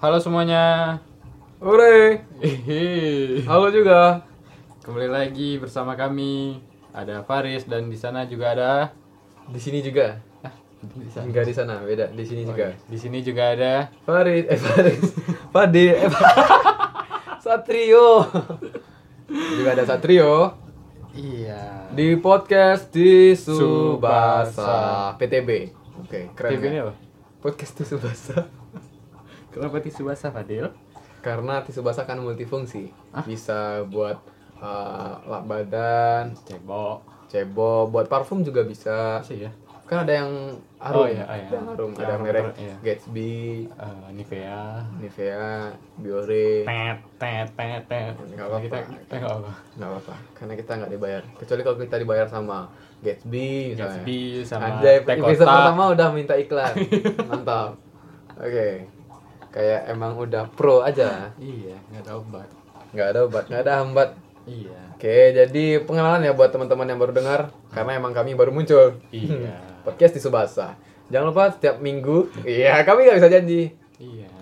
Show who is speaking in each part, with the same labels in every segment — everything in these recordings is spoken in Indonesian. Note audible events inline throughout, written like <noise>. Speaker 1: Halo semuanya.
Speaker 2: Ure,
Speaker 1: Hihi.
Speaker 2: halo juga.
Speaker 1: Kembali lagi bersama kami. Ada Faris dan di sana juga ada
Speaker 2: Di sini juga.
Speaker 1: Hah? di sana.
Speaker 2: Enggak di sana, beda. Di sini juga.
Speaker 1: Di sini juga ada iya.
Speaker 2: Farid, eh Faris. Fadi, eh, Satrio. juga ada Satrio
Speaker 1: Iya. Di
Speaker 2: di podcast di
Speaker 1: Subasa.
Speaker 2: Subasa PTB. Oke, keren.
Speaker 1: TV ini
Speaker 2: ya?
Speaker 1: apa?
Speaker 2: Podcast di Subasa.
Speaker 1: Kenapa tisu basah, Fadil?
Speaker 2: Karena Tisubasa kan multifungsi.
Speaker 1: Hah?
Speaker 2: Bisa buat eh, lap badan,
Speaker 1: Cebok.
Speaker 2: cebok, buat parfum juga bisa.
Speaker 1: Masih ya?
Speaker 2: Kan ada yang
Speaker 1: Oh,
Speaker 2: harum.
Speaker 1: iya, iya.
Speaker 2: Ada yang harum,
Speaker 1: Yang
Speaker 2: ada yang
Speaker 1: harum,
Speaker 2: merek
Speaker 1: iya.
Speaker 2: Gatsby,
Speaker 1: Eh, Nivea.
Speaker 2: Nivea, Biore.
Speaker 1: Tet tet tet tet.
Speaker 2: Nggak apa-apa.
Speaker 1: Kita kita nggak apa.
Speaker 2: Nggak apa-apa, karena kita nggak dibayar. Kecuali kalau kita dibayar sama Gatsby misalnya.
Speaker 1: Gatsby sama
Speaker 2: Anjay,
Speaker 1: Teh
Speaker 2: episode
Speaker 1: Kotak.
Speaker 2: pertama udah minta
Speaker 1: <laughs>
Speaker 2: iklan. Mantap. Oke. Kayak emang udah pro aja.
Speaker 1: Iya, nggak ada obat.
Speaker 2: Nggak ada obat, nggak ada hambat.
Speaker 1: Iya.
Speaker 2: Oke, jadi pengenalan ya buat teman-teman yang baru dengar. Karena emang kami baru muncul.
Speaker 1: Iya.
Speaker 2: <laughs> Podcast di Subasa. Jangan lupa setiap minggu. Iya, kami nggak bisa janji.
Speaker 1: Iya.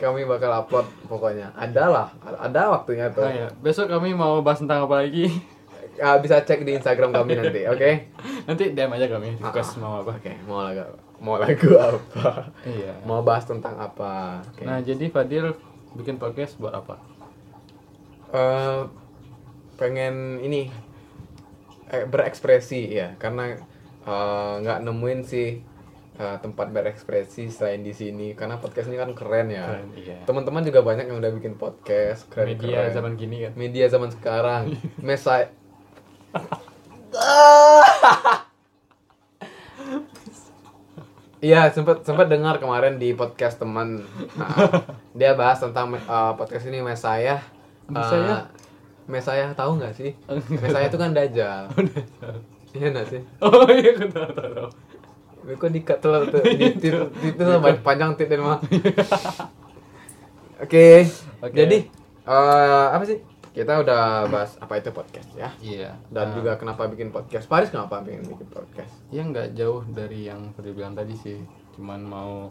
Speaker 2: Kami bakal upload pokoknya. Adalah, ada waktunya
Speaker 1: Oh,
Speaker 2: tuh.
Speaker 1: iya. Besok kami mau bahas tentang apa lagi? <laughs>
Speaker 2: Ah, bisa cek di Instagram kami nanti, oke? Ah,
Speaker 1: Nanti DM aja kami request mau apa.
Speaker 2: Oke, mau lagu mau lagu <laughs> apa?
Speaker 1: Iya.
Speaker 2: Mau bahas tentang apa? Oke.
Speaker 1: Nah, jadi Fadil bikin podcast buat apa?
Speaker 2: Eh, pengen ini eh, berekspresi ya, karena eh, nggak nemuin sih eh, tempat berekspresi selain di sini. Karena podcast ini kan keren ya.
Speaker 1: Keren, iya.
Speaker 2: Teman-teman juga banyak yang udah bikin podcast keren.
Speaker 1: Media
Speaker 2: keren.
Speaker 1: zaman gini kan.
Speaker 2: media zaman sekarang mesa Iya sempat sempat dengar kemarin di podcast teman Nah, dia bahas tentang eh, podcast ini mesayah
Speaker 1: Mesayah?
Speaker 2: Eh, mesayah tahu nggak sih mesayah itu kan dajal iya nggak sih
Speaker 1: <laughs> Oh iya, aku tahu tahu. tahu.
Speaker 2: Gue kok dikat telur tuh di tit tit tuh banyak panjang tit dan mah. Oke.
Speaker 1: Oke.
Speaker 2: Jadi eh, apa sih? Kita udah bahas apa itu podcast ya.
Speaker 1: Iya.
Speaker 2: Dan
Speaker 1: Nah,
Speaker 2: juga kenapa bikin podcast. Paris kenapa pengen bikin podcast?
Speaker 1: ya nggak jauh dari yang Fadil bilang tadi sih. Cuman mau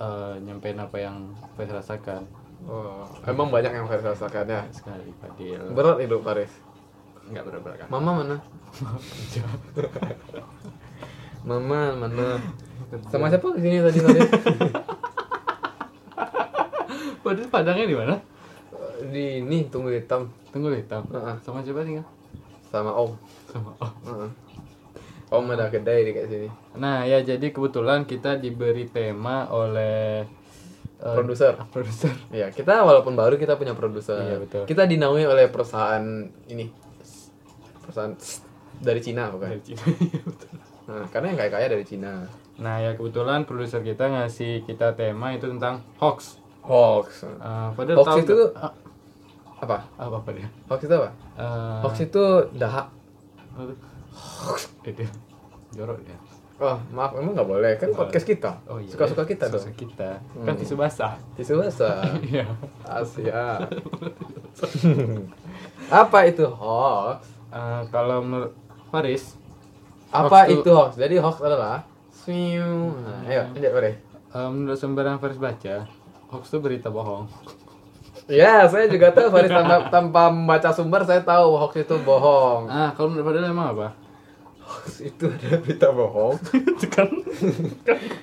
Speaker 1: eh, nyampein apa yang Fadil rasakan
Speaker 2: Oh, emang banyak yang Paris rasakan ya.
Speaker 1: sekali Fadil.
Speaker 2: Berat hidup Paris.
Speaker 1: Nggak benar-benar kan.
Speaker 2: Mama mana? Mama mana? Sama siapa di sini tadi Paris?
Speaker 1: Fadil padangnya di mana?
Speaker 2: di ini tunggu hitam
Speaker 1: Tunggu deh, tam.
Speaker 2: Heeh.
Speaker 1: Sama siapa tinggal?
Speaker 2: sama Om.
Speaker 1: Sama. Oh.
Speaker 2: Heeh. Om ada kedai dekat sini.
Speaker 1: Nah ya jadi kebetulan kita diberi tema oleh eh,
Speaker 2: Produser.
Speaker 1: <laughs> Produser.
Speaker 2: Ya, kita walaupun baru kita punya produser.
Speaker 1: Iya, betul.
Speaker 2: Kita dinaungi oleh perusahaan ini. Perusahaan dari Cina bukan?
Speaker 1: Dari Cina.
Speaker 2: Nah, karena yang kaya-kaya dari Cina.
Speaker 1: Nah ya kebetulan produser kita ngasih kita tema itu tentang hoax.
Speaker 2: Hoax.
Speaker 1: Eh, Fadil
Speaker 2: Hoax
Speaker 1: tahu
Speaker 2: itu
Speaker 1: nggak- Ah,
Speaker 2: Apa?
Speaker 1: apa apa dia?
Speaker 2: Hoax itu apa?
Speaker 1: Eh,
Speaker 2: Hoax itu dahak.
Speaker 1: apa tuh? Eh, dia jorok dia.
Speaker 2: Oh, maaf emang nggak boleh kan podcast kita.
Speaker 1: Oh iya.
Speaker 2: Suka-suka kita
Speaker 1: Suka
Speaker 2: dong. Hmm.
Speaker 1: kita. Kan tisu basah.
Speaker 2: Tisu basah.
Speaker 1: Iya.
Speaker 2: Asia. <laughs> apa itu hoax?
Speaker 1: Eh, kalau menurut Faris, Hoax
Speaker 2: Apa
Speaker 1: itu-
Speaker 2: itu hoax? Jadi hoax adalah Siu. Nah, ayo, lanjut boleh.
Speaker 1: eh, menurut sumber yang Faris baca, hoax itu berita bohong.
Speaker 2: Ya, saya juga tahu Faris tanpa, tanpa membaca sumber saya tahu hoax itu bohong.
Speaker 1: Ah, kalau menurut Fadil emang apa?
Speaker 2: Hoax itu ada berita bohong.
Speaker 1: itu kan.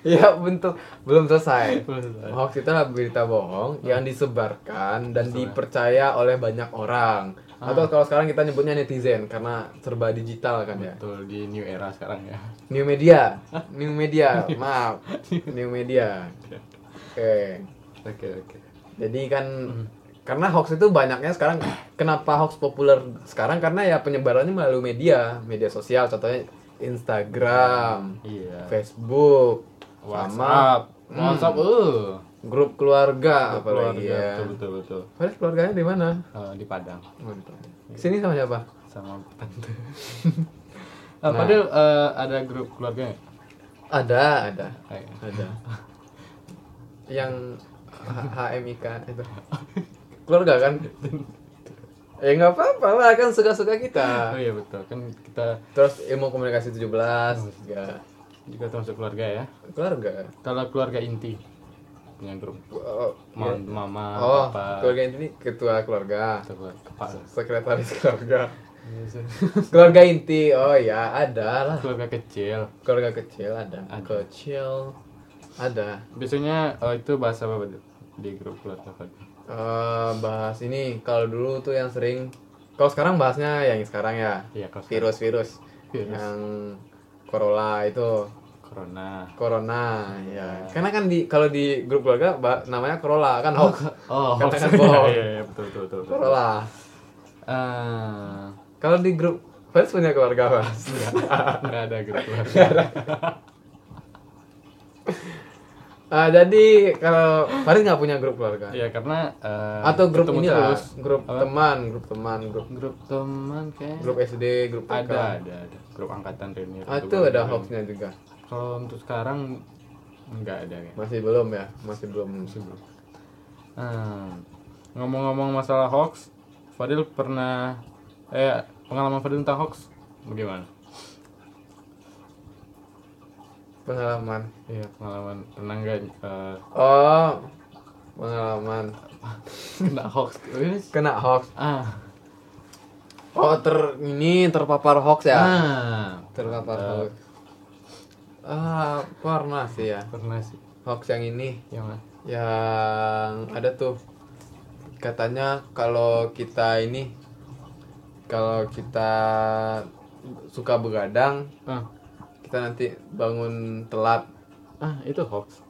Speaker 2: ya, bentuk belum selesai.
Speaker 1: Belum selesai.
Speaker 2: Hoax Nah, itu adalah berita bohong
Speaker 1: Ah.
Speaker 2: yang disebarkan
Speaker 1: ya.
Speaker 2: dan dipercaya oleh banyak orang.
Speaker 1: Ah.
Speaker 2: Atau kalau sekarang kita nyebutnya netizen karena serba digital kan ya.
Speaker 1: Betul di new era sekarang ya.
Speaker 2: New
Speaker 1: <laughs>
Speaker 2: media, new media, maaf, new media. Oke.
Speaker 1: Oke oke.
Speaker 2: Jadi kan
Speaker 1: Hmm.
Speaker 2: karena hoax itu banyaknya sekarang kenapa hoax populer sekarang karena ya penyebarannya melalui media, media sosial contohnya Instagram,
Speaker 1: Iya.
Speaker 2: Facebook,
Speaker 1: WhatsApp.
Speaker 2: sama
Speaker 1: WhatsApp. eh.
Speaker 2: grup keluarga Hmm.
Speaker 1: keluarga.
Speaker 2: apalagi ya.
Speaker 1: Betul betul betul.
Speaker 2: Padahal keluarganya di mana?
Speaker 1: Eh, di Padang
Speaker 2: Oh, di Padang. Sini sama siapa?
Speaker 1: sama
Speaker 2: <laughs>
Speaker 1: tante.
Speaker 2: Nah.
Speaker 1: Eh, Padahal eh, ada grup keluarga ya? nggak?
Speaker 2: Ada, ada.
Speaker 1: Kayak,
Speaker 2: Ada. Yang H- HMIK itu. Keluarga kan? Ya nggak apa-apa lah, kan suka-suka kita.
Speaker 1: Oh iya betul kan kita
Speaker 2: Terus ilmu komunikasi 17 juga.
Speaker 1: juga termasuk keluarga ya
Speaker 2: ya, keluarga
Speaker 1: kalau keluarga inti punya grup
Speaker 2: Eh,
Speaker 1: Ma- Oh, mama
Speaker 2: oh
Speaker 1: papa
Speaker 2: keluarga inti ini ketua keluarga
Speaker 1: atau kepala
Speaker 2: sekretaris keluarga keluarga inti oh ya ada lah
Speaker 1: <laughs> keluarga kecil
Speaker 2: keluarga kecil ada
Speaker 1: Ada.
Speaker 2: kecil ada
Speaker 1: biasanya eh, itu bahasa apa Fadil? di grup keluarga Fadil?
Speaker 2: Eh, bahas ini kalau dulu tuh yang sering kalau sekarang bahasnya yang sekarang ya
Speaker 1: Iya, kalau sekarang.
Speaker 2: virus virus
Speaker 1: Virus.
Speaker 2: yang corona itu
Speaker 1: corona Ah,
Speaker 2: corona
Speaker 1: iya.
Speaker 2: ya karena kan di kalau di grup keluarga ba- namanya corona kan hoax
Speaker 1: oh
Speaker 2: Katakan
Speaker 1: hoax.
Speaker 2: bohong.
Speaker 1: <laughs> Iya, iya, betul betul betul, betul.
Speaker 2: corona
Speaker 1: Ah,
Speaker 2: kalau di grup Faiz punya keluarga mas <laughs>
Speaker 1: enggak, enggak ada grup keluarga.
Speaker 2: Ah, jadi kalau Faris nggak punya grup keluarga
Speaker 1: ya karena eh,
Speaker 2: Kan? atau grup
Speaker 1: ketemu
Speaker 2: ini lah
Speaker 1: terus.
Speaker 2: grup
Speaker 1: Apa?
Speaker 2: teman grup teman grup
Speaker 1: grup teman kayak
Speaker 2: grup SD grup TK
Speaker 1: ada ada ada grup angkatan Renier
Speaker 2: Ah,
Speaker 1: Grup
Speaker 2: itu ada
Speaker 1: angkatan.
Speaker 2: hoaxnya juga
Speaker 1: kalau untuk sekarang enggak ada kayaknya.
Speaker 2: masih belum ya masih belum
Speaker 1: Masih belum. Hmm, ngomong-ngomong masalah hoax Fadil pernah eh pengalaman Fadil tentang hoax bagaimana
Speaker 2: pengalaman
Speaker 1: iya pengalaman pernah nggak eh,
Speaker 2: Oh, pengalaman
Speaker 1: kena
Speaker 2: <laughs>
Speaker 1: hoax Wis.
Speaker 2: kena hoax.
Speaker 1: ah
Speaker 2: Oh, ter ini terpapar hoax ya?
Speaker 1: ah
Speaker 2: Terpapar
Speaker 1: Mantap.
Speaker 2: hoax. Ah, pernah sih ya.
Speaker 1: pernah sih iya,
Speaker 2: Hoax yang ini
Speaker 1: yang mana?
Speaker 2: yang ada tuh katanya kalau kita ini kalau kita suka begadang
Speaker 1: ah
Speaker 2: kita nanti bangun telat
Speaker 1: ah itu hoax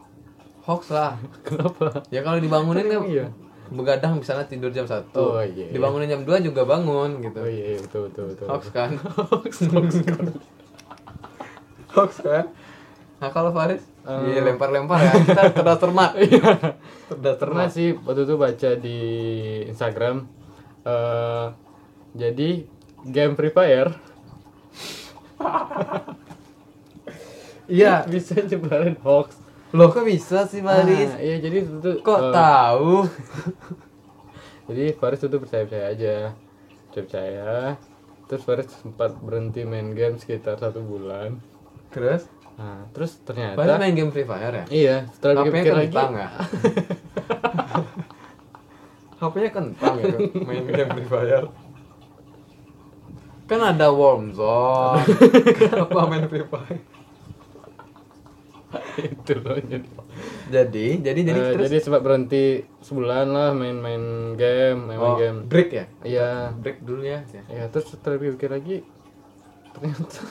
Speaker 1: <laughs>
Speaker 2: hoax lah
Speaker 1: kenapa
Speaker 2: ya kalau dibangunin kan
Speaker 1: Iya.
Speaker 2: begadang misalnya tidur jam 1
Speaker 1: Oh, iya, iya.
Speaker 2: dibangunin jam 2 juga bangun gitu
Speaker 1: oh iya, iya betul betul betul
Speaker 2: hoax kan <laughs> hoax kan hoax kan nah kalau Faris
Speaker 1: Eh.
Speaker 2: dilempar-lempar ya kita cerdas cermat cerdas
Speaker 1: <laughs> pernah
Speaker 2: cermat
Speaker 1: sih waktu itu baca di Instagram eh jadi game Free Fire
Speaker 2: <laughs> iya
Speaker 1: <laughs> bisa nyebarin hoax
Speaker 2: loh kok bisa sih Faris
Speaker 1: Ah, iya jadi itu tuh,
Speaker 2: kok
Speaker 1: eh,
Speaker 2: tahu
Speaker 1: jadi Faris itu percaya percaya aja percaya percaya terus Faris sempat berhenti main game sekitar satu bulan
Speaker 2: terus
Speaker 1: nah, terus
Speaker 2: Faris
Speaker 1: ternyata
Speaker 2: main game Free Fire ya
Speaker 1: iya setelah
Speaker 2: HP-nya
Speaker 1: pikir-pikir lagi
Speaker 2: kentang ya HP-nya kentang <laughs> ya kan? main game Free Fire kan ada warm zone <laughs> kenapa main Free Fire
Speaker 1: <laughs> itu loh jadi
Speaker 2: jadi jadi jadi
Speaker 1: Eh,
Speaker 2: terus
Speaker 1: jadi sempat berhenti sebulan lah main-main game main-main
Speaker 2: Oh,
Speaker 1: game
Speaker 2: break ya
Speaker 1: iya
Speaker 2: break dulu ya
Speaker 1: ya terus setelah pikir lagi ternyata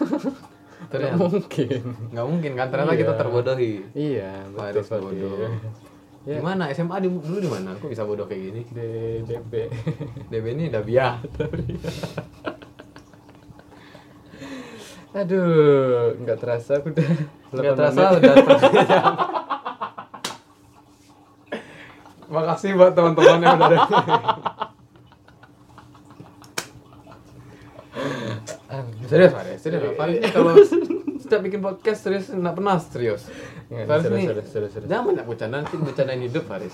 Speaker 1: <laughs>
Speaker 2: Ternyata.
Speaker 1: ternyata mungkin
Speaker 2: nggak mungkin kan ternyata
Speaker 1: Iya.
Speaker 2: kita terbodohi
Speaker 1: iya betul
Speaker 2: Virus
Speaker 1: sekali
Speaker 2: bodoh.
Speaker 1: Ya.
Speaker 2: Gimana SMA di, dulu di mana? Aku bisa bodoh kayak gini.
Speaker 1: DDB
Speaker 2: DB ini Dabia.
Speaker 1: <laughs> aduh nggak terasa aku udah
Speaker 2: Enggak
Speaker 1: 8
Speaker 2: terasa
Speaker 1: menit.
Speaker 2: udah. <laughs> Makasih buat teman-teman yang
Speaker 1: <laughs>
Speaker 2: udah datang. serius, Faris. Serius,
Speaker 1: Iya.
Speaker 2: Faris ini kalau setiap bikin podcast serius nggak pernah serius.
Speaker 1: <laughs> Nggak, Iya,
Speaker 2: Faris
Speaker 1: serius,
Speaker 2: ini
Speaker 1: serius, serius, serius.
Speaker 2: jangan banyak bercanda nanti bercandain hidup Faris.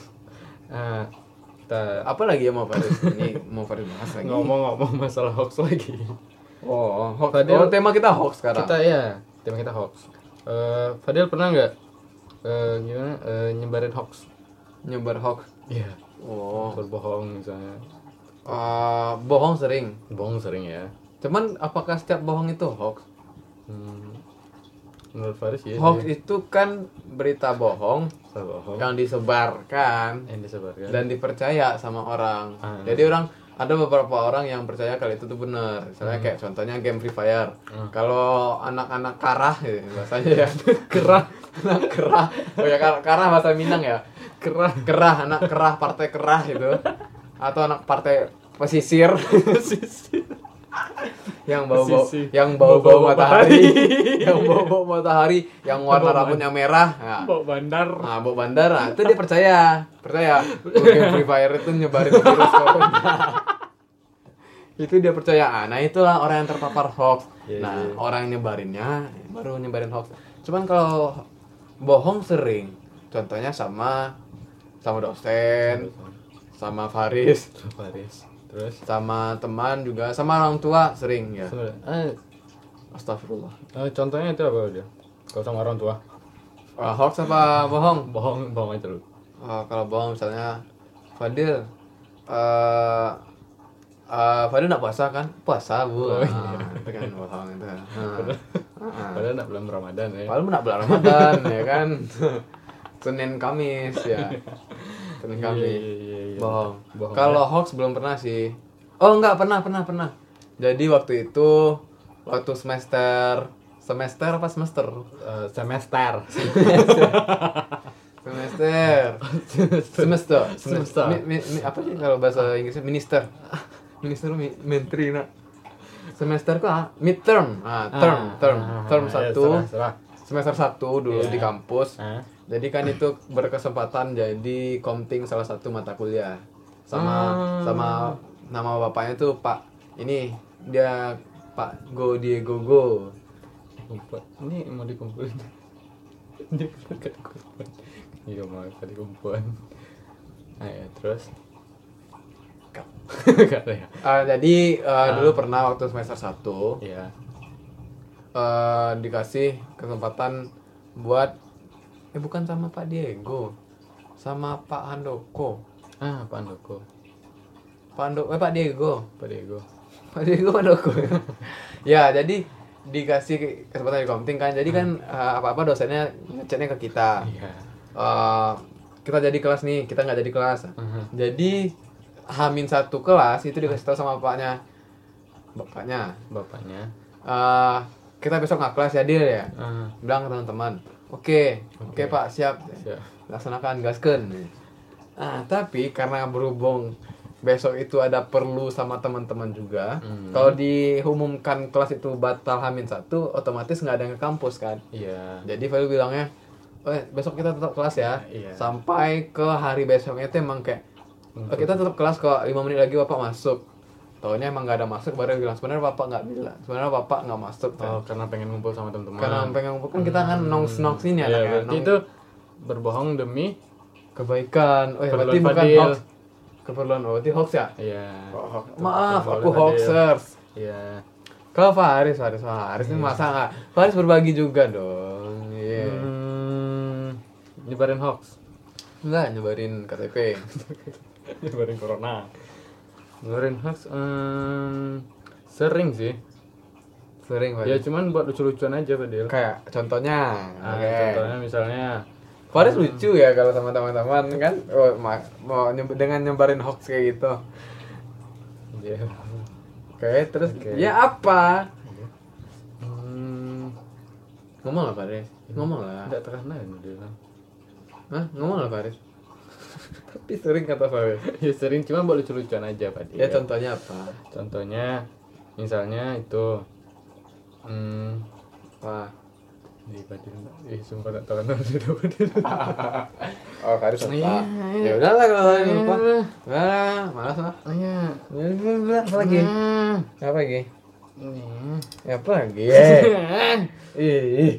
Speaker 1: Ah, kita
Speaker 2: Apalagi yang mau Faris ini mau Faris bahas lagi.
Speaker 1: ngomong-ngomong masalah hoax lagi
Speaker 2: Oh, hoax.
Speaker 1: Fadil-
Speaker 2: Oh, tema kita hoax sekarang.
Speaker 1: kita ya tema kita hoax Eh, Fadil pernah nggak eh, gimana eh, nyebarin hoax
Speaker 2: nyebar hoax.
Speaker 1: iya
Speaker 2: Oh,
Speaker 1: berbohong misalnya
Speaker 2: eh, bohong sering.
Speaker 1: bohong sering ya
Speaker 2: Cuman apakah setiap bohong itu hoax?
Speaker 1: Hmm, menurut Faris ya
Speaker 2: Hoax itu kan berita bohong
Speaker 1: bohong
Speaker 2: yang disebarkan
Speaker 1: yang disebarkan
Speaker 2: Kan. dan dipercaya sama orang.
Speaker 1: Ah.
Speaker 2: Jadi orang ada beberapa orang yang percaya kalau itu tuh benar. Misalnya kayak contohnya game Free Fire. Kalau anak-anak karah gitu, bahasanya ya. <laughs> kerah, anak kerah. Oh ya kar- karah bahasa Minang ya. Kerah, kerah anak kerah partai kerah gitu. Atau anak partai <laughs> pesisir. yang bau-bau
Speaker 1: Pesisir.
Speaker 2: yang bau-bau
Speaker 1: Bau-bau
Speaker 2: matahari, <laughs> yang bau-bau matahari, yang warna rambutnya merah. Nah,
Speaker 1: bawa bandar
Speaker 2: Nah, bawa bandar, nah, itu dia percaya, percaya. Game Free Fire itu nyebarin virus corona. itu dia percaya. Ah, Nah, itulah orang yang terpapar hoax.
Speaker 1: Iya,
Speaker 2: nah,
Speaker 1: iya.
Speaker 2: orang yang nyebarinnya baru nyebarin hoax. Cuman kalau bohong sering. Contohnya sama sama dosen, sama Faris,
Speaker 1: Faris terus
Speaker 2: sama teman juga, sama orang tua sering ya.
Speaker 1: Sebenarnya, eh,
Speaker 2: Astagfirullah.
Speaker 1: eh, contohnya itu apa udah Kalau sama orang tua,
Speaker 2: Eh, hoax apa bohong?
Speaker 1: bohong, bohong aja lu.
Speaker 2: Oh, kalau bohong misalnya Fadil eh eh, Fadil nggak puasa kan? Puasa bu.
Speaker 1: Oh, iya.
Speaker 2: Ah, itu kan bohong itu. Ah.
Speaker 1: Padahal nggak bulan Ramadan ya.
Speaker 2: Padahal nak bulan Ramadan ya kan. <laughs> Senin Kamis ya. Senin
Speaker 1: Iya,
Speaker 2: Kamis.
Speaker 1: iya, iya, iya.
Speaker 2: Bohong.
Speaker 1: Bohong,
Speaker 2: Kalau hoax belum pernah sih. Oh enggak pernah pernah pernah. Jadi waktu itu waktu semester semester apa semester?
Speaker 1: Eh, semester.
Speaker 2: Semester. semester
Speaker 1: Semester.
Speaker 2: Mi- mi- mi- apa sih kalau bahasa Inggrisnya minister minister mi- menteri nak semester kok ah, midterm ah, term
Speaker 1: Ah,
Speaker 2: term
Speaker 1: ah,
Speaker 2: term
Speaker 1: ah,
Speaker 2: satu
Speaker 1: Ya, serah, serah.
Speaker 2: semester satu dulu
Speaker 1: Iya.
Speaker 2: di kampus
Speaker 1: Ah.
Speaker 2: jadi kan itu berkesempatan jadi komting salah satu mata kuliah sama
Speaker 1: Ah.
Speaker 2: sama nama bapaknya tuh Pak ini dia Pak Go Diego Go
Speaker 1: Kumpul. Ini mau dikumpulin. <laughs> Ini kan kumpulan. Iya mau tadi kumpulan. Nah, ya, terus. Kap. <laughs> Kata ya.
Speaker 2: Ah, jadi eh, dulu pernah waktu semester satu
Speaker 1: Iya.
Speaker 2: eh dikasih kesempatan buat eh bukan sama Pak Diego sama Pak Handoko
Speaker 1: Ah, Pak Andoko,
Speaker 2: Pak Handoko eh Pak Diego <laughs>
Speaker 1: Pak Diego.
Speaker 2: Pak Diego Pak Handoko <laughs> ya jadi dikasih kesempatan di komting kan jadi kan apa apa dosennya ngeceknya ke kita
Speaker 1: Iya.
Speaker 2: Eh, kita jadi kelas nih kita nggak jadi kelas
Speaker 1: Mhm.
Speaker 2: jadi Hamin satu kelas itu dikasih tahu sama bapaknya bapaknya
Speaker 1: Bapaknya.
Speaker 2: eh kita besok nggak kelas ya Dil ya
Speaker 1: Ah,
Speaker 2: bilang ke teman-teman oke oke pak siap
Speaker 1: siap.
Speaker 2: laksanakan gasken ah tapi karena berhubung besok itu ada perlu sama teman-teman juga
Speaker 1: Hmm.
Speaker 2: kalau diumumkan kelas itu batal hamin satu otomatis nggak ada yang ke kampus kan
Speaker 1: Iya.
Speaker 2: jadi Fadil bilangnya eh, besok kita tetap kelas ya
Speaker 1: Iya.
Speaker 2: sampai ke hari besoknya itu emang kayak "Eh, kita tetap kelas kok lima menit lagi bapak masuk Taunya emang nggak ada masuk baru dia bilang sebenarnya bapak nggak bilang sebenarnya bapak nggak masuk kan.
Speaker 1: Oh, karena pengen ngumpul sama teman-teman.
Speaker 2: Karena pengen ngumpul kan kita kan nongs nongs ini
Speaker 1: Iya,
Speaker 2: anaknya.
Speaker 1: berarti
Speaker 2: nong-
Speaker 1: itu berbohong demi
Speaker 2: kebaikan. Oh ya, berarti
Speaker 1: keperluan
Speaker 2: bukan
Speaker 1: Fadil.
Speaker 2: hoax. Keperluan oh, berarti hoax ya?
Speaker 1: Iya.
Speaker 2: Maaf,
Speaker 1: Keperluan
Speaker 2: aku
Speaker 1: Fadil.
Speaker 2: hoaxers.
Speaker 1: Iya.
Speaker 2: Kalau Faris, Faris, Faris ini masa nggak? Faris berbagi juga dong. Iya.
Speaker 1: Hmm, nyebarin hoax.
Speaker 2: Enggak nyebarin KTP. <laughs>
Speaker 1: nyebarin corona. Nyebarin hoax em, eh, sering sih.
Speaker 2: Sering
Speaker 1: Ya
Speaker 2: Faris.
Speaker 1: cuman buat lucu-lucuan aja Fadil.
Speaker 2: Oh, iya. Kayak contohnya,
Speaker 1: Ah,
Speaker 2: oke.
Speaker 1: Contohnya Hmm. misalnya
Speaker 2: Faris lucu ya kalau sama teman-teman kan Oh, ma- mau nyeb- dengan nyebarin hoax kayak gitu.
Speaker 1: ya,
Speaker 2: Oke, terus
Speaker 1: Oke.
Speaker 2: ya apa?
Speaker 1: hmm,
Speaker 2: Ngomong lah Faris. Ngomong lah.
Speaker 1: tidak terkenal ya, ini dia bilang.
Speaker 2: Hah? Ngomong lah Faris. <laughs> Tapi sering kata Faris.
Speaker 1: <laughs> ya sering cuman buat lucu-lucuan aja Fadil.
Speaker 2: Ya contohnya apa?
Speaker 1: Contohnya misalnya itu hmm,
Speaker 2: Wah.
Speaker 1: di Fadil. Ih, sumpah tak terkenal di Fadil.
Speaker 2: <laughs> Oh, Faris lupa.
Speaker 1: Iya, iya.
Speaker 2: Ya udahlah kalau Faris lupa.
Speaker 1: Iya.
Speaker 2: Nah, malas lah.
Speaker 1: Iya.
Speaker 2: Ya, ya, ya, Apa lagi?
Speaker 1: Hmm.
Speaker 2: Apa lagi?
Speaker 1: Iya.
Speaker 2: Ya, apa <laughs> lagi? Eh. Ih, ih.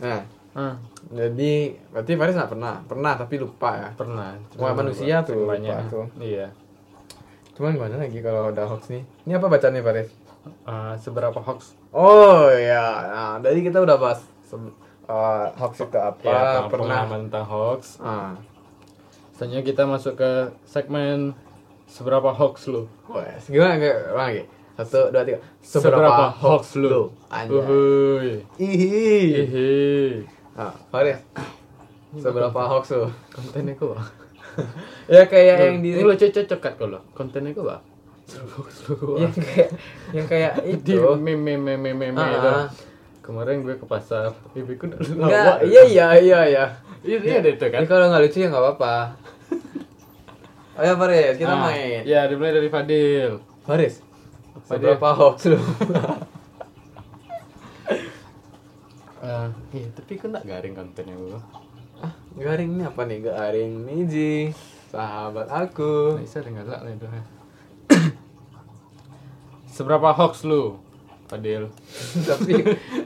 Speaker 2: Nah,
Speaker 1: <laughs> Ah,
Speaker 2: jadi berarti Faris nggak pernah. Pernah tapi lupa ya.
Speaker 1: pernah.
Speaker 2: Wah, manusia tuh,
Speaker 1: Banyak.
Speaker 2: lupa tuh.
Speaker 1: Iya.
Speaker 2: Cuman gimana lagi kalau udah hoax nih? Ini apa bacaannya Faris?
Speaker 1: Ah, seberapa hoax?
Speaker 2: Oh ya, nah, tadi kita udah bahas se- eh, hoax itu apa,
Speaker 1: Ya, tentang
Speaker 2: pernah.
Speaker 1: pengalaman tentang hoax.
Speaker 2: Ah,
Speaker 1: Selanjutnya kita masuk ke segmen seberapa hoax lu.
Speaker 2: wes. Gimana kayak ulang lagi? Satu, dua, tiga. Anjay. Iya.
Speaker 1: Uhuy.
Speaker 2: Ihi.
Speaker 1: Ihi.
Speaker 2: Ah, Faris. Seberapa hoax lu?
Speaker 1: Kontennya kok. Bang?
Speaker 2: ya kayak yang di
Speaker 1: Ini lu cocok kan kalau kontennya kok, Bang. Seberapa hoax lu. kok, Bang?
Speaker 2: yang kayak yang <laughs> kayak
Speaker 1: Di
Speaker 2: itu.
Speaker 1: meme meme meme meme
Speaker 2: Ah,
Speaker 1: itu.
Speaker 2: gitu. ah.
Speaker 1: Kemarin gue ke pasar, ibuku udah
Speaker 2: Enggak, iya iya iya iya.
Speaker 1: Iya, iya ada itu kan.
Speaker 2: Jadi kalau nggak lucu ya nggak <laughs> apa-apa. Ayo Oh ya, Faris, kita
Speaker 1: Ah,
Speaker 2: main.
Speaker 1: Ya, dimulai dari Fadil.
Speaker 2: iya. Faris,
Speaker 1: Fadil.
Speaker 2: seberapa hoax lu? <laughs>
Speaker 1: Eh, iya, tapi kok enggak garing kontennya gue.
Speaker 2: Ah, garing ini apa nih? Garing Niji, sahabat aku.
Speaker 1: Nggak bisa dengar lah itu. ya. <coughs> Seberapa hoax lu, Fadil?
Speaker 2: tapi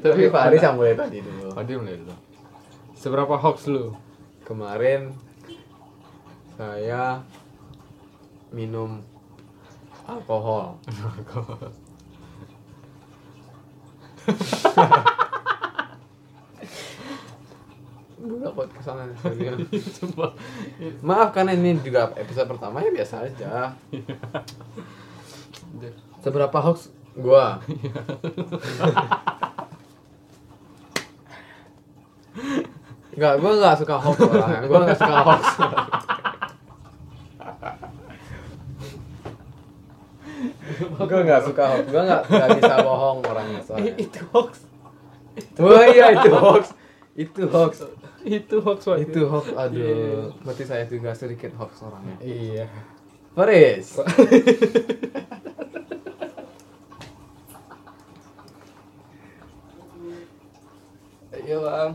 Speaker 2: tapi Pak Aris yang mulai tadi dulu.
Speaker 1: Fadil mulai dulu. Seberapa hoax lu?
Speaker 2: Kemarin saya minum alkohol. buat kesana serius.
Speaker 1: Sumpah.
Speaker 2: Maaf karena ini juga episode pertama ya biasa aja.
Speaker 1: Udah.
Speaker 2: Seberapa hoax gua? Enggak, gua enggak suka hoax orang. Gua enggak suka hoax. gua enggak suka hoax. Gua enggak enggak bisa bohong orangnya soalnya.
Speaker 1: <laughs> itu hoax.
Speaker 2: Wah, iya itu hoax. Itu hoax.
Speaker 1: Itu hoax Pak.
Speaker 2: Itu hoax.
Speaker 1: Iya.
Speaker 2: Aduh, berarti saya juga sedikit hoax orangnya.
Speaker 1: Iya.
Speaker 2: Faris.
Speaker 1: <laughs> Iya, Bang.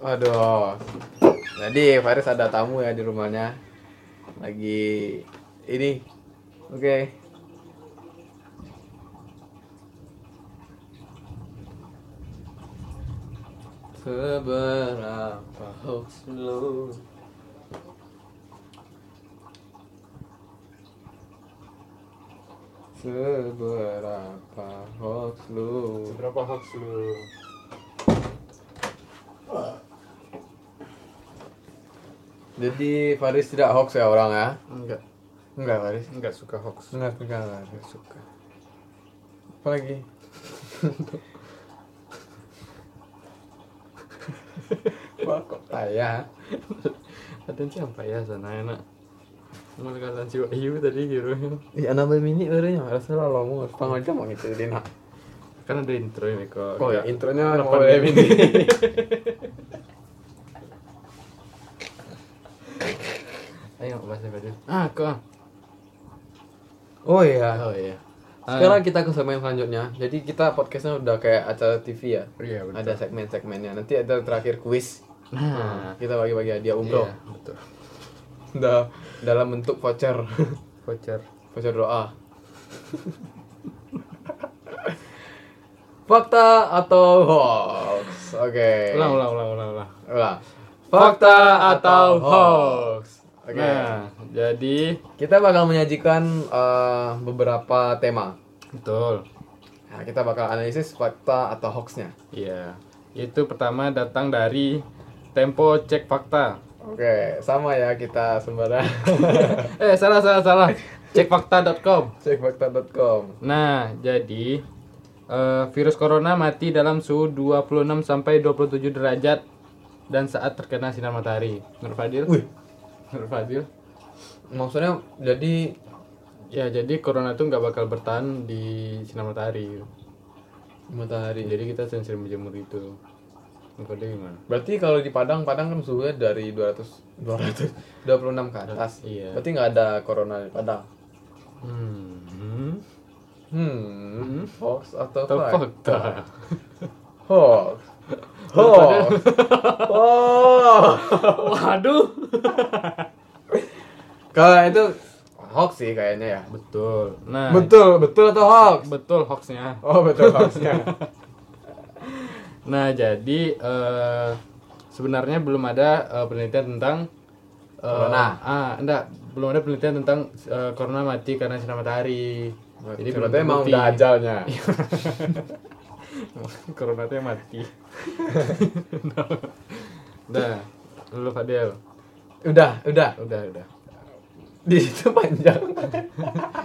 Speaker 2: Waduh. Jadi Faris ada tamu ya di rumahnya. Lagi ini. Oke.
Speaker 1: Seberapa hoax lu?
Speaker 2: Seberapa hoax lu?
Speaker 1: Seberapa hoax lu?
Speaker 2: Jadi Faris tidak hoax ya orang ya?
Speaker 1: Enggak,
Speaker 2: Enggak Faris.
Speaker 1: enggak suka hoax.
Speaker 2: Enggak enggak Faris.
Speaker 1: Enggak suka.
Speaker 2: Apa lagi? <laughs> Wah kok payah.
Speaker 1: Kadang siapa ya sana enak. Mau kata si Wahyu tadi gitu.
Speaker 2: Ya nama mini orangnya harusnya lah lo mau setengah jam mau ngecilin ah.
Speaker 1: Kan ada intro ini kok.
Speaker 2: Oh ya intronya
Speaker 1: Kenapa
Speaker 2: mau
Speaker 1: dia
Speaker 2: mini.
Speaker 1: Ayo bahasa Baduy. Ah, kok.
Speaker 2: <laughs> Oh iya.
Speaker 1: Oh iya.
Speaker 2: Sekarang kita ke segmen selanjutnya. Jadi kita podcastnya udah kayak acara TV ya.
Speaker 1: Iya, betul.
Speaker 2: Ada segmen-segmennya. Nanti ada terakhir kuis.
Speaker 1: Nah,
Speaker 2: Kita bagi-bagi hadiah umroh.
Speaker 1: iya, betul.
Speaker 2: Da- dalam bentuk voucher, <laughs>
Speaker 1: Voucher.
Speaker 2: voucher doa. <laughs> Fakta atau hoax? Oke.
Speaker 1: Ulang, ulang, ulang, ulang, ulang.
Speaker 2: Ulang.
Speaker 1: Fakta atau hoax?
Speaker 2: Oke.
Speaker 1: Nah, jadi
Speaker 2: Kita bakal menyajikan eh, beberapa tema.
Speaker 1: betul.
Speaker 2: Nah, kita bakal analisis fakta atau hoaxnya.
Speaker 1: Iya. Itu pertama datang dari Tempo Cek Fakta.
Speaker 2: Oke, sama ya kita sembara
Speaker 1: <laughs> Eh, salah, salah, <laughs> salah. Cekfakta.com.
Speaker 2: cekfakta.com.
Speaker 1: Nah, jadi eh, virus corona mati dalam suhu 26 sampai 27 derajat dan saat terkena sinar matahari. Nur Fadil?
Speaker 2: Wih.
Speaker 1: Nur Fadil?
Speaker 2: Maksudnya jadi
Speaker 1: Ya, jadi corona itu nggak bakal bertahan di sinar matahari.
Speaker 2: matahari.
Speaker 1: Jadi kita sering-sering berjemur itu. Nur Fadil gimana?
Speaker 2: Berarti kalau di Padang, Padang kan suhunya dari 200 200 26 ke atas.
Speaker 1: Iya.
Speaker 2: Berarti nggak ada corona di Padang.
Speaker 1: Hmm.
Speaker 2: Hmm, hoax atau
Speaker 1: Atau
Speaker 2: hoax?
Speaker 1: fakta.
Speaker 2: <laughs> Hoax. Hoax. <laughs> Hoax.
Speaker 1: Waduh.
Speaker 2: Kalau itu hoax sih kayaknya ya.
Speaker 1: Betul. Nah,
Speaker 2: Betul, betul atau hoax?
Speaker 1: betul hoaxnya.
Speaker 2: Oh, betul <laughs> hoaxnya.
Speaker 1: Nah, jadi eh, sebenarnya belum ada eh, penelitian tentang eh,
Speaker 2: Corona.
Speaker 1: Ah, enggak, belum ada penelitian tentang eh, corona mati karena sinar matahari.
Speaker 2: Jadi
Speaker 1: belum
Speaker 2: berarti emang
Speaker 1: terbukti.
Speaker 2: udah ajalnya.
Speaker 1: <laughs> corona tuh yang mati. <laughs> Nah, lu Fadel.
Speaker 2: Udah, udah. <laughs>
Speaker 1: Udah, udah.
Speaker 2: Di situ panjang.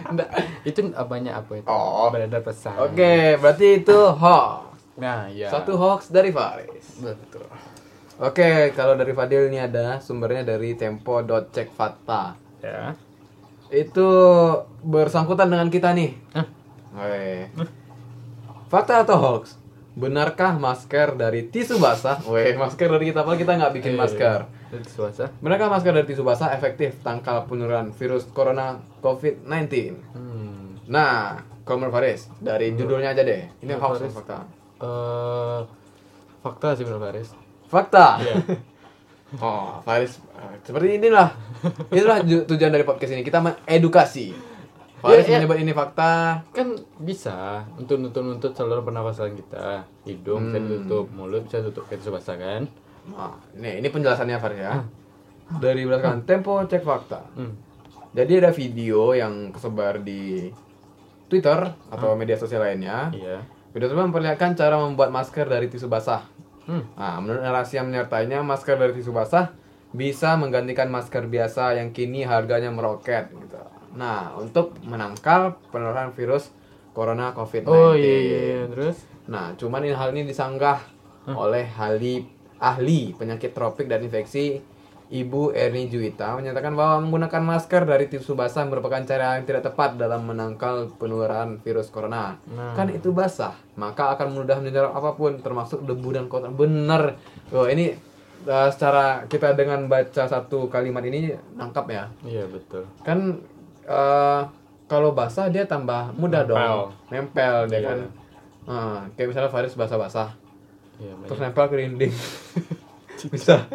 Speaker 1: Enggak, itu banyak apa itu?
Speaker 2: Oh.
Speaker 1: Beredar pesan.
Speaker 2: Oke, berarti itu hoax.
Speaker 1: Nah, ya.
Speaker 2: Satu hoax dari Faris.
Speaker 1: betul.
Speaker 2: Oke, kalau dari Fadil ini ada sumbernya dari tempo.cekfakta.
Speaker 1: Ya.
Speaker 2: Itu bersangkutan dengan kita nih.
Speaker 1: Hah?
Speaker 2: Weh. Fakta atau hoax? Benarkah masker dari tisu basah? Weh, masker dari kita apa kita nggak
Speaker 1: Iya.
Speaker 2: bikin masker.
Speaker 1: Itu Suasa.
Speaker 2: Benarkah masker dari tisu basah efektif tangkal penurunan virus corona COVID-19?
Speaker 1: Hmm.
Speaker 2: Nah, Komer Faris, dari judulnya aja deh. Ini
Speaker 1: Menurut
Speaker 2: hoax
Speaker 1: Faris.
Speaker 2: atau fakta?
Speaker 1: Eh, fakta sih menurut Faris.
Speaker 2: Fakta.
Speaker 1: Iya.
Speaker 2: <laughs> Oh, Faris. eh, Seperti inilah. Itulah ju- tujuan dari podcast ini. Kita mengedukasi. Faris
Speaker 1: Iya, iya.
Speaker 2: menyebut ini fakta.
Speaker 1: kan bisa untuk nuntut nuntut saluran pernafasan kita
Speaker 3: Hmm.
Speaker 1: hidung bisa ditutup mulut bisa tutup kayak tisu basah kan
Speaker 2: Nah, ini, ini penjelasannya Faris ya. Dari belakang Tempo cek fakta.
Speaker 1: hmm.
Speaker 2: Jadi ada video yang kesebar di Twitter atau media sosial lainnya.
Speaker 1: iya
Speaker 2: Video tersebut memperlihatkan cara membuat masker dari tisu basah.
Speaker 3: Hmm.
Speaker 2: Nah, menurut narasi yang menyertainya, masker dari tisu basah bisa menggantikan masker biasa yang kini harganya meroket gitu. Nah, untuk menangkal penularan virus corona COVID-19.
Speaker 3: Oh iya iya iya. terus
Speaker 2: Nah, cuman ini- hal ini disanggah oleh ahli ahli penyakit tropik dan infeksi Ibu Erni Juwita menyatakan bahwa menggunakan masker dari tisu basah merupakan cara yang tidak tepat dalam menangkal penularan virus corona.
Speaker 3: Nah.
Speaker 2: Kan itu basah, maka akan mudah menyerap apapun termasuk debu dan kotoran. Bener. Loh, ini eh, secara kita dengan baca satu kalimat ini nangkap ya.
Speaker 3: iya betul.
Speaker 2: Kan eh, kalau basah dia tambah mudah
Speaker 3: Nempel.
Speaker 2: dong. Nempel dia
Speaker 3: Iya.
Speaker 2: kan. Eh, kayak misalnya Faris basah-basah
Speaker 3: Iya
Speaker 2: terus
Speaker 3: banyak.
Speaker 2: nempel ke dinding <laughs>
Speaker 3: <laughs>
Speaker 2: bisa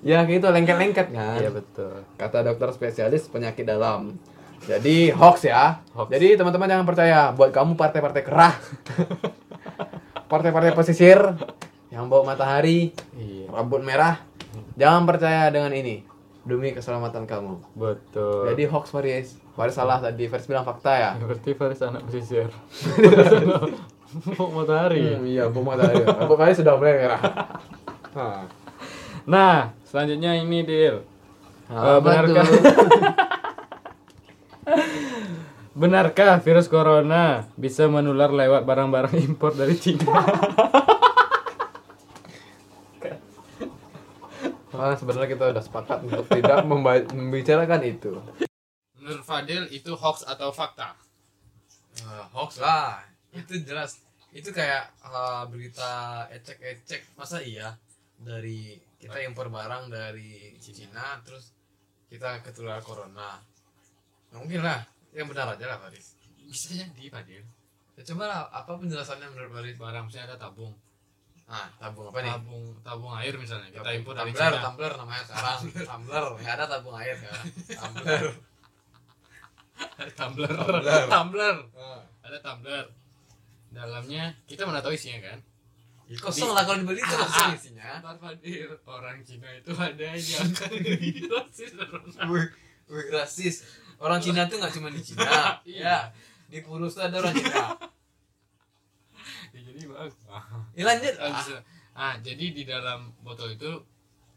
Speaker 2: ya kayak gitu lengket-lengket kan
Speaker 3: Iya betul.
Speaker 2: kata dokter spesialis penyakit dalam jadi hoax ya
Speaker 3: Hoax.
Speaker 2: jadi teman-teman jangan percaya buat kamu partai-partai kerah <laughs> partai-partai pesisir yang bawa matahari
Speaker 3: Iya
Speaker 2: rambut merah jangan percaya dengan ini demi keselamatan kamu
Speaker 3: betul.
Speaker 2: jadi hoax Faris Faris salah tadi Faris bilang fakta ya
Speaker 3: berarti Faris anak <laughs> pesisir. Mau matahari.
Speaker 2: Hmm, iya bawa matahari rambut Faris sudah mulai merah Hah.
Speaker 3: Nah, selanjutnya ini Dil. Eh,
Speaker 2: Apa <laughs>
Speaker 3: benarkah?
Speaker 2: tuh?
Speaker 3: <laughs> Benarkah virus corona bisa menular lewat barang-barang impor dari Cina?
Speaker 2: Karena Ah, sebenarnya kita udah sepakat untuk tidak memba- membicarakan itu.
Speaker 3: Menurut Fadil itu hoax atau fakta?
Speaker 2: Eh, hoax lah, itu jelas. Itu kayak eh, berita ecek-ecek, masa iya dari kita impor barang dari Cina, terus kita ketularan corona. mungkin lah, yang benar aja lah Faris.
Speaker 1: bisa jadi Fadil ya, coba lah, apa penjelasannya menurut Farid barang misalnya ada tabung
Speaker 2: Nah, tabung apa nih?
Speaker 1: tabung tabung air misalnya kita
Speaker 2: Tabung-
Speaker 1: impor dari
Speaker 2: Ya, tumbler,
Speaker 1: Cina
Speaker 2: tumbler namanya sekarang. tumbler, nggak ada tabung air kan? Tumbler.
Speaker 1: <laughs> tumbler
Speaker 2: Tumbler.
Speaker 1: tumbler
Speaker 2: Nah,
Speaker 1: ada tumbler dalamnya kita mana tahu isinya kan
Speaker 2: Kosong lah kalau dibeli itu kosong isinya.
Speaker 1: Ntar Fadil orang Cina itu ada yang akan <laughs> jadi dosis corona.
Speaker 2: Wih, wih rasis. Orang Cina tuh nggak cuma di Cina. <laughs> Iya. Di Purus tuh ada orang Cina.
Speaker 1: Ya, jadi bang
Speaker 2: Ya lanjut.
Speaker 1: ah, ah, jadi di dalam botol itu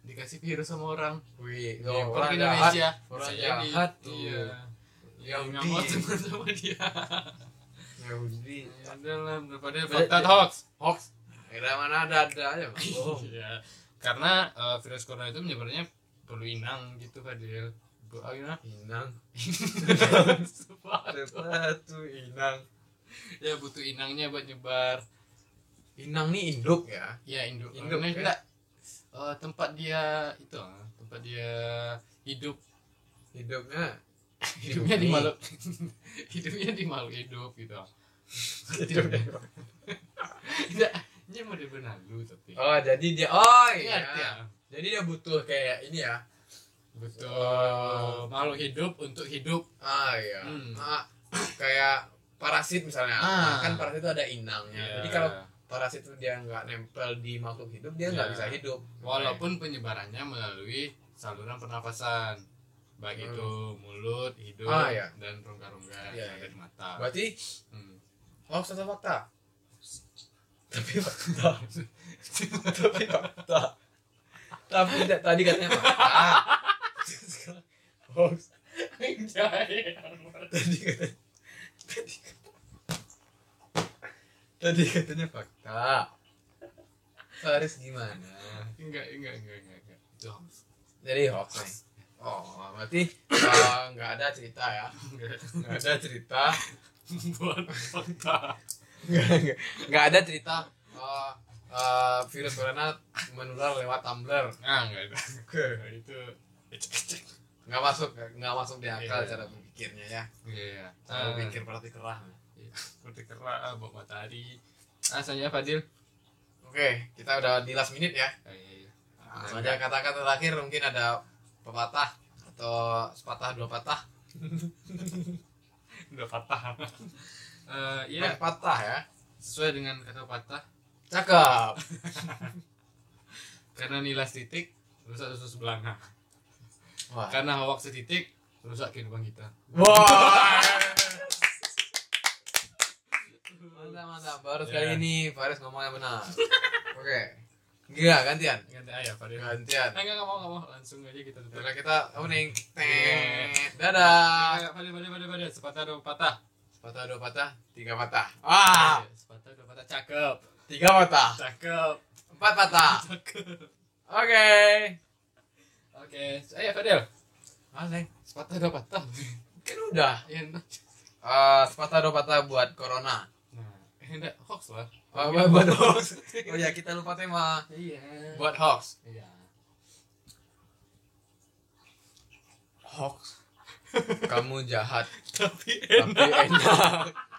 Speaker 1: dikasih virus sama orang
Speaker 2: Wih,
Speaker 1: Di impor
Speaker 2: loh, Ya, orang
Speaker 1: ke
Speaker 2: jahat.
Speaker 1: Indonesia
Speaker 2: Orang
Speaker 1: Bisa jadi.
Speaker 2: jahat tuh.
Speaker 1: iya
Speaker 2: Ya
Speaker 1: yang
Speaker 2: udah.
Speaker 1: ngamot sama sama dia
Speaker 2: Yahudi.
Speaker 1: Ya udah lah, daripada
Speaker 2: Jadi-
Speaker 1: fakta atau hoax
Speaker 2: Hoax. Kira mana ada ada aja. Bang.
Speaker 1: <laughs>
Speaker 2: Bohong.
Speaker 1: Iya. Karena eh, virus corona itu menyebarnya perlu inang gitu Fadil. Bu, ah,
Speaker 2: <laughs>
Speaker 1: gimana?
Speaker 2: Inang.
Speaker 1: Sepatu.
Speaker 2: Sepatu inang.
Speaker 1: ya butuh inangnya buat nyebar.
Speaker 2: Inang nih induk ya.
Speaker 1: Ya induk.
Speaker 2: Induk,
Speaker 1: Karena
Speaker 2: ya?
Speaker 1: enggak, eh, tempat dia itu ah, tempat dia hidup
Speaker 2: Hidupnya.
Speaker 1: hidupnya di
Speaker 2: ini.
Speaker 1: makhluk <laughs> hidupnya di makhluk hidup gitu tidak ini mau dibenalu tapi
Speaker 2: Oh, jadi dia oh
Speaker 1: Iya,
Speaker 2: iya.
Speaker 1: iya.
Speaker 2: Jadi dia butuh kayak ini ya.
Speaker 1: betul makhluk hidup untuk hidup
Speaker 2: Ah iya.
Speaker 1: Hmm.
Speaker 2: Ah, kayak parasit misalnya.
Speaker 1: Ah.
Speaker 2: Kan parasit itu ada inangnya. Jadi
Speaker 1: Ya.
Speaker 2: kalau parasit itu dia nggak nempel di makhluk hidup, dia nggak
Speaker 1: Ya.
Speaker 2: bisa hidup.
Speaker 1: Walaupun penyebarannya melalui saluran pernapasan, baik
Speaker 2: Hmm.
Speaker 1: itu mulut, hidung,
Speaker 2: Ah, ya.
Speaker 1: dan rongga-rongga
Speaker 2: Ya,
Speaker 1: yang ada
Speaker 2: ya.
Speaker 1: di mata.
Speaker 2: berarti
Speaker 1: Hmm.
Speaker 2: hoax atau fakta? Tapi fakta. Tapi fakta. Tapi tidak tadi katanya fakta. Sekarang hoax.
Speaker 1: Anjay.
Speaker 2: Tadi katanya. Tadi katanya. Tadi katanya fakta. Faris gimana?
Speaker 1: enggak, enggak, enggak, enggak, enggak. Itu hoax.
Speaker 2: Jadi hoax nih. Oh, berarti eh, nggak ada cerita ya?
Speaker 1: <laughs> Enggak.
Speaker 2: Nggak ada cerita.
Speaker 1: Buat fakta.
Speaker 2: Nggak nggak- nggak ada cerita eh, eh, virus corona menular lewat tumbler.
Speaker 1: Ah, enggak ada. Nah, itu ecek-ecek.
Speaker 2: Nggak masuk, nggak masuk di akal
Speaker 1: Iya.
Speaker 2: cara berpikirnya ya.
Speaker 1: Iya, iya.
Speaker 2: Cara
Speaker 1: Ah,
Speaker 2: berpikir berarti kerah.
Speaker 1: iya. Seperti kerak, bawa matahari. Ah, saya Fadil.
Speaker 2: Oke, kita udah di last minute ya.
Speaker 1: Ah, iya, iya.
Speaker 2: Langsung aja kata-kata terakhir mungkin ada pepatah atau sepatah dua patah.
Speaker 1: Udah patah. <laughs> Eh, iya,
Speaker 2: Iya, patah ya.
Speaker 1: sesuai dengan kata patah,
Speaker 2: Cakep.
Speaker 1: Karena nilai setitik rusak usus belanga.
Speaker 2: Wah.
Speaker 1: Karena hoax setitik rusak kehidupan kita.
Speaker 2: Wah. Mantap, mantap. Nah, baru
Speaker 1: Ya.
Speaker 2: sekali ini Faris ngomongnya benar. Oke. Gila, gantian.
Speaker 1: Ganti ayah,
Speaker 2: Iya.
Speaker 1: Farid.
Speaker 2: Gantian.
Speaker 1: Enggak, enggak Eh, mau, enggak mau. Langsung aja kita tutup.
Speaker 2: Udah kita opening. Teng.
Speaker 1: Iya.
Speaker 2: Dadah.
Speaker 1: Ayo, Farid, Farid, Farid, Farid. Sepatah dua patah.
Speaker 2: Patah dua patah, tiga patah. Ah,
Speaker 1: Iya, Sepatah dua patah. Cakep.
Speaker 2: tiga patah,
Speaker 1: Cakep.
Speaker 2: empat patah.
Speaker 1: Cakep.
Speaker 2: Oke.
Speaker 1: Oke, ayo Fadil.
Speaker 2: Ah, Neng.
Speaker 1: Sepatah dua patah. <laughs>
Speaker 2: Kan udah.
Speaker 1: Ya, enak.
Speaker 2: Eh, sepatah dua patah buat corona.
Speaker 1: Nah, enak. Hoax lah.
Speaker 2: Oh, buat, buat hoax. Oh ya, kita lupa tema.
Speaker 1: Iya.
Speaker 2: Buat hoax.
Speaker 1: Iya. <laughs>
Speaker 2: Hoax. Kamu jahat,
Speaker 1: Tapi
Speaker 2: tapi enak.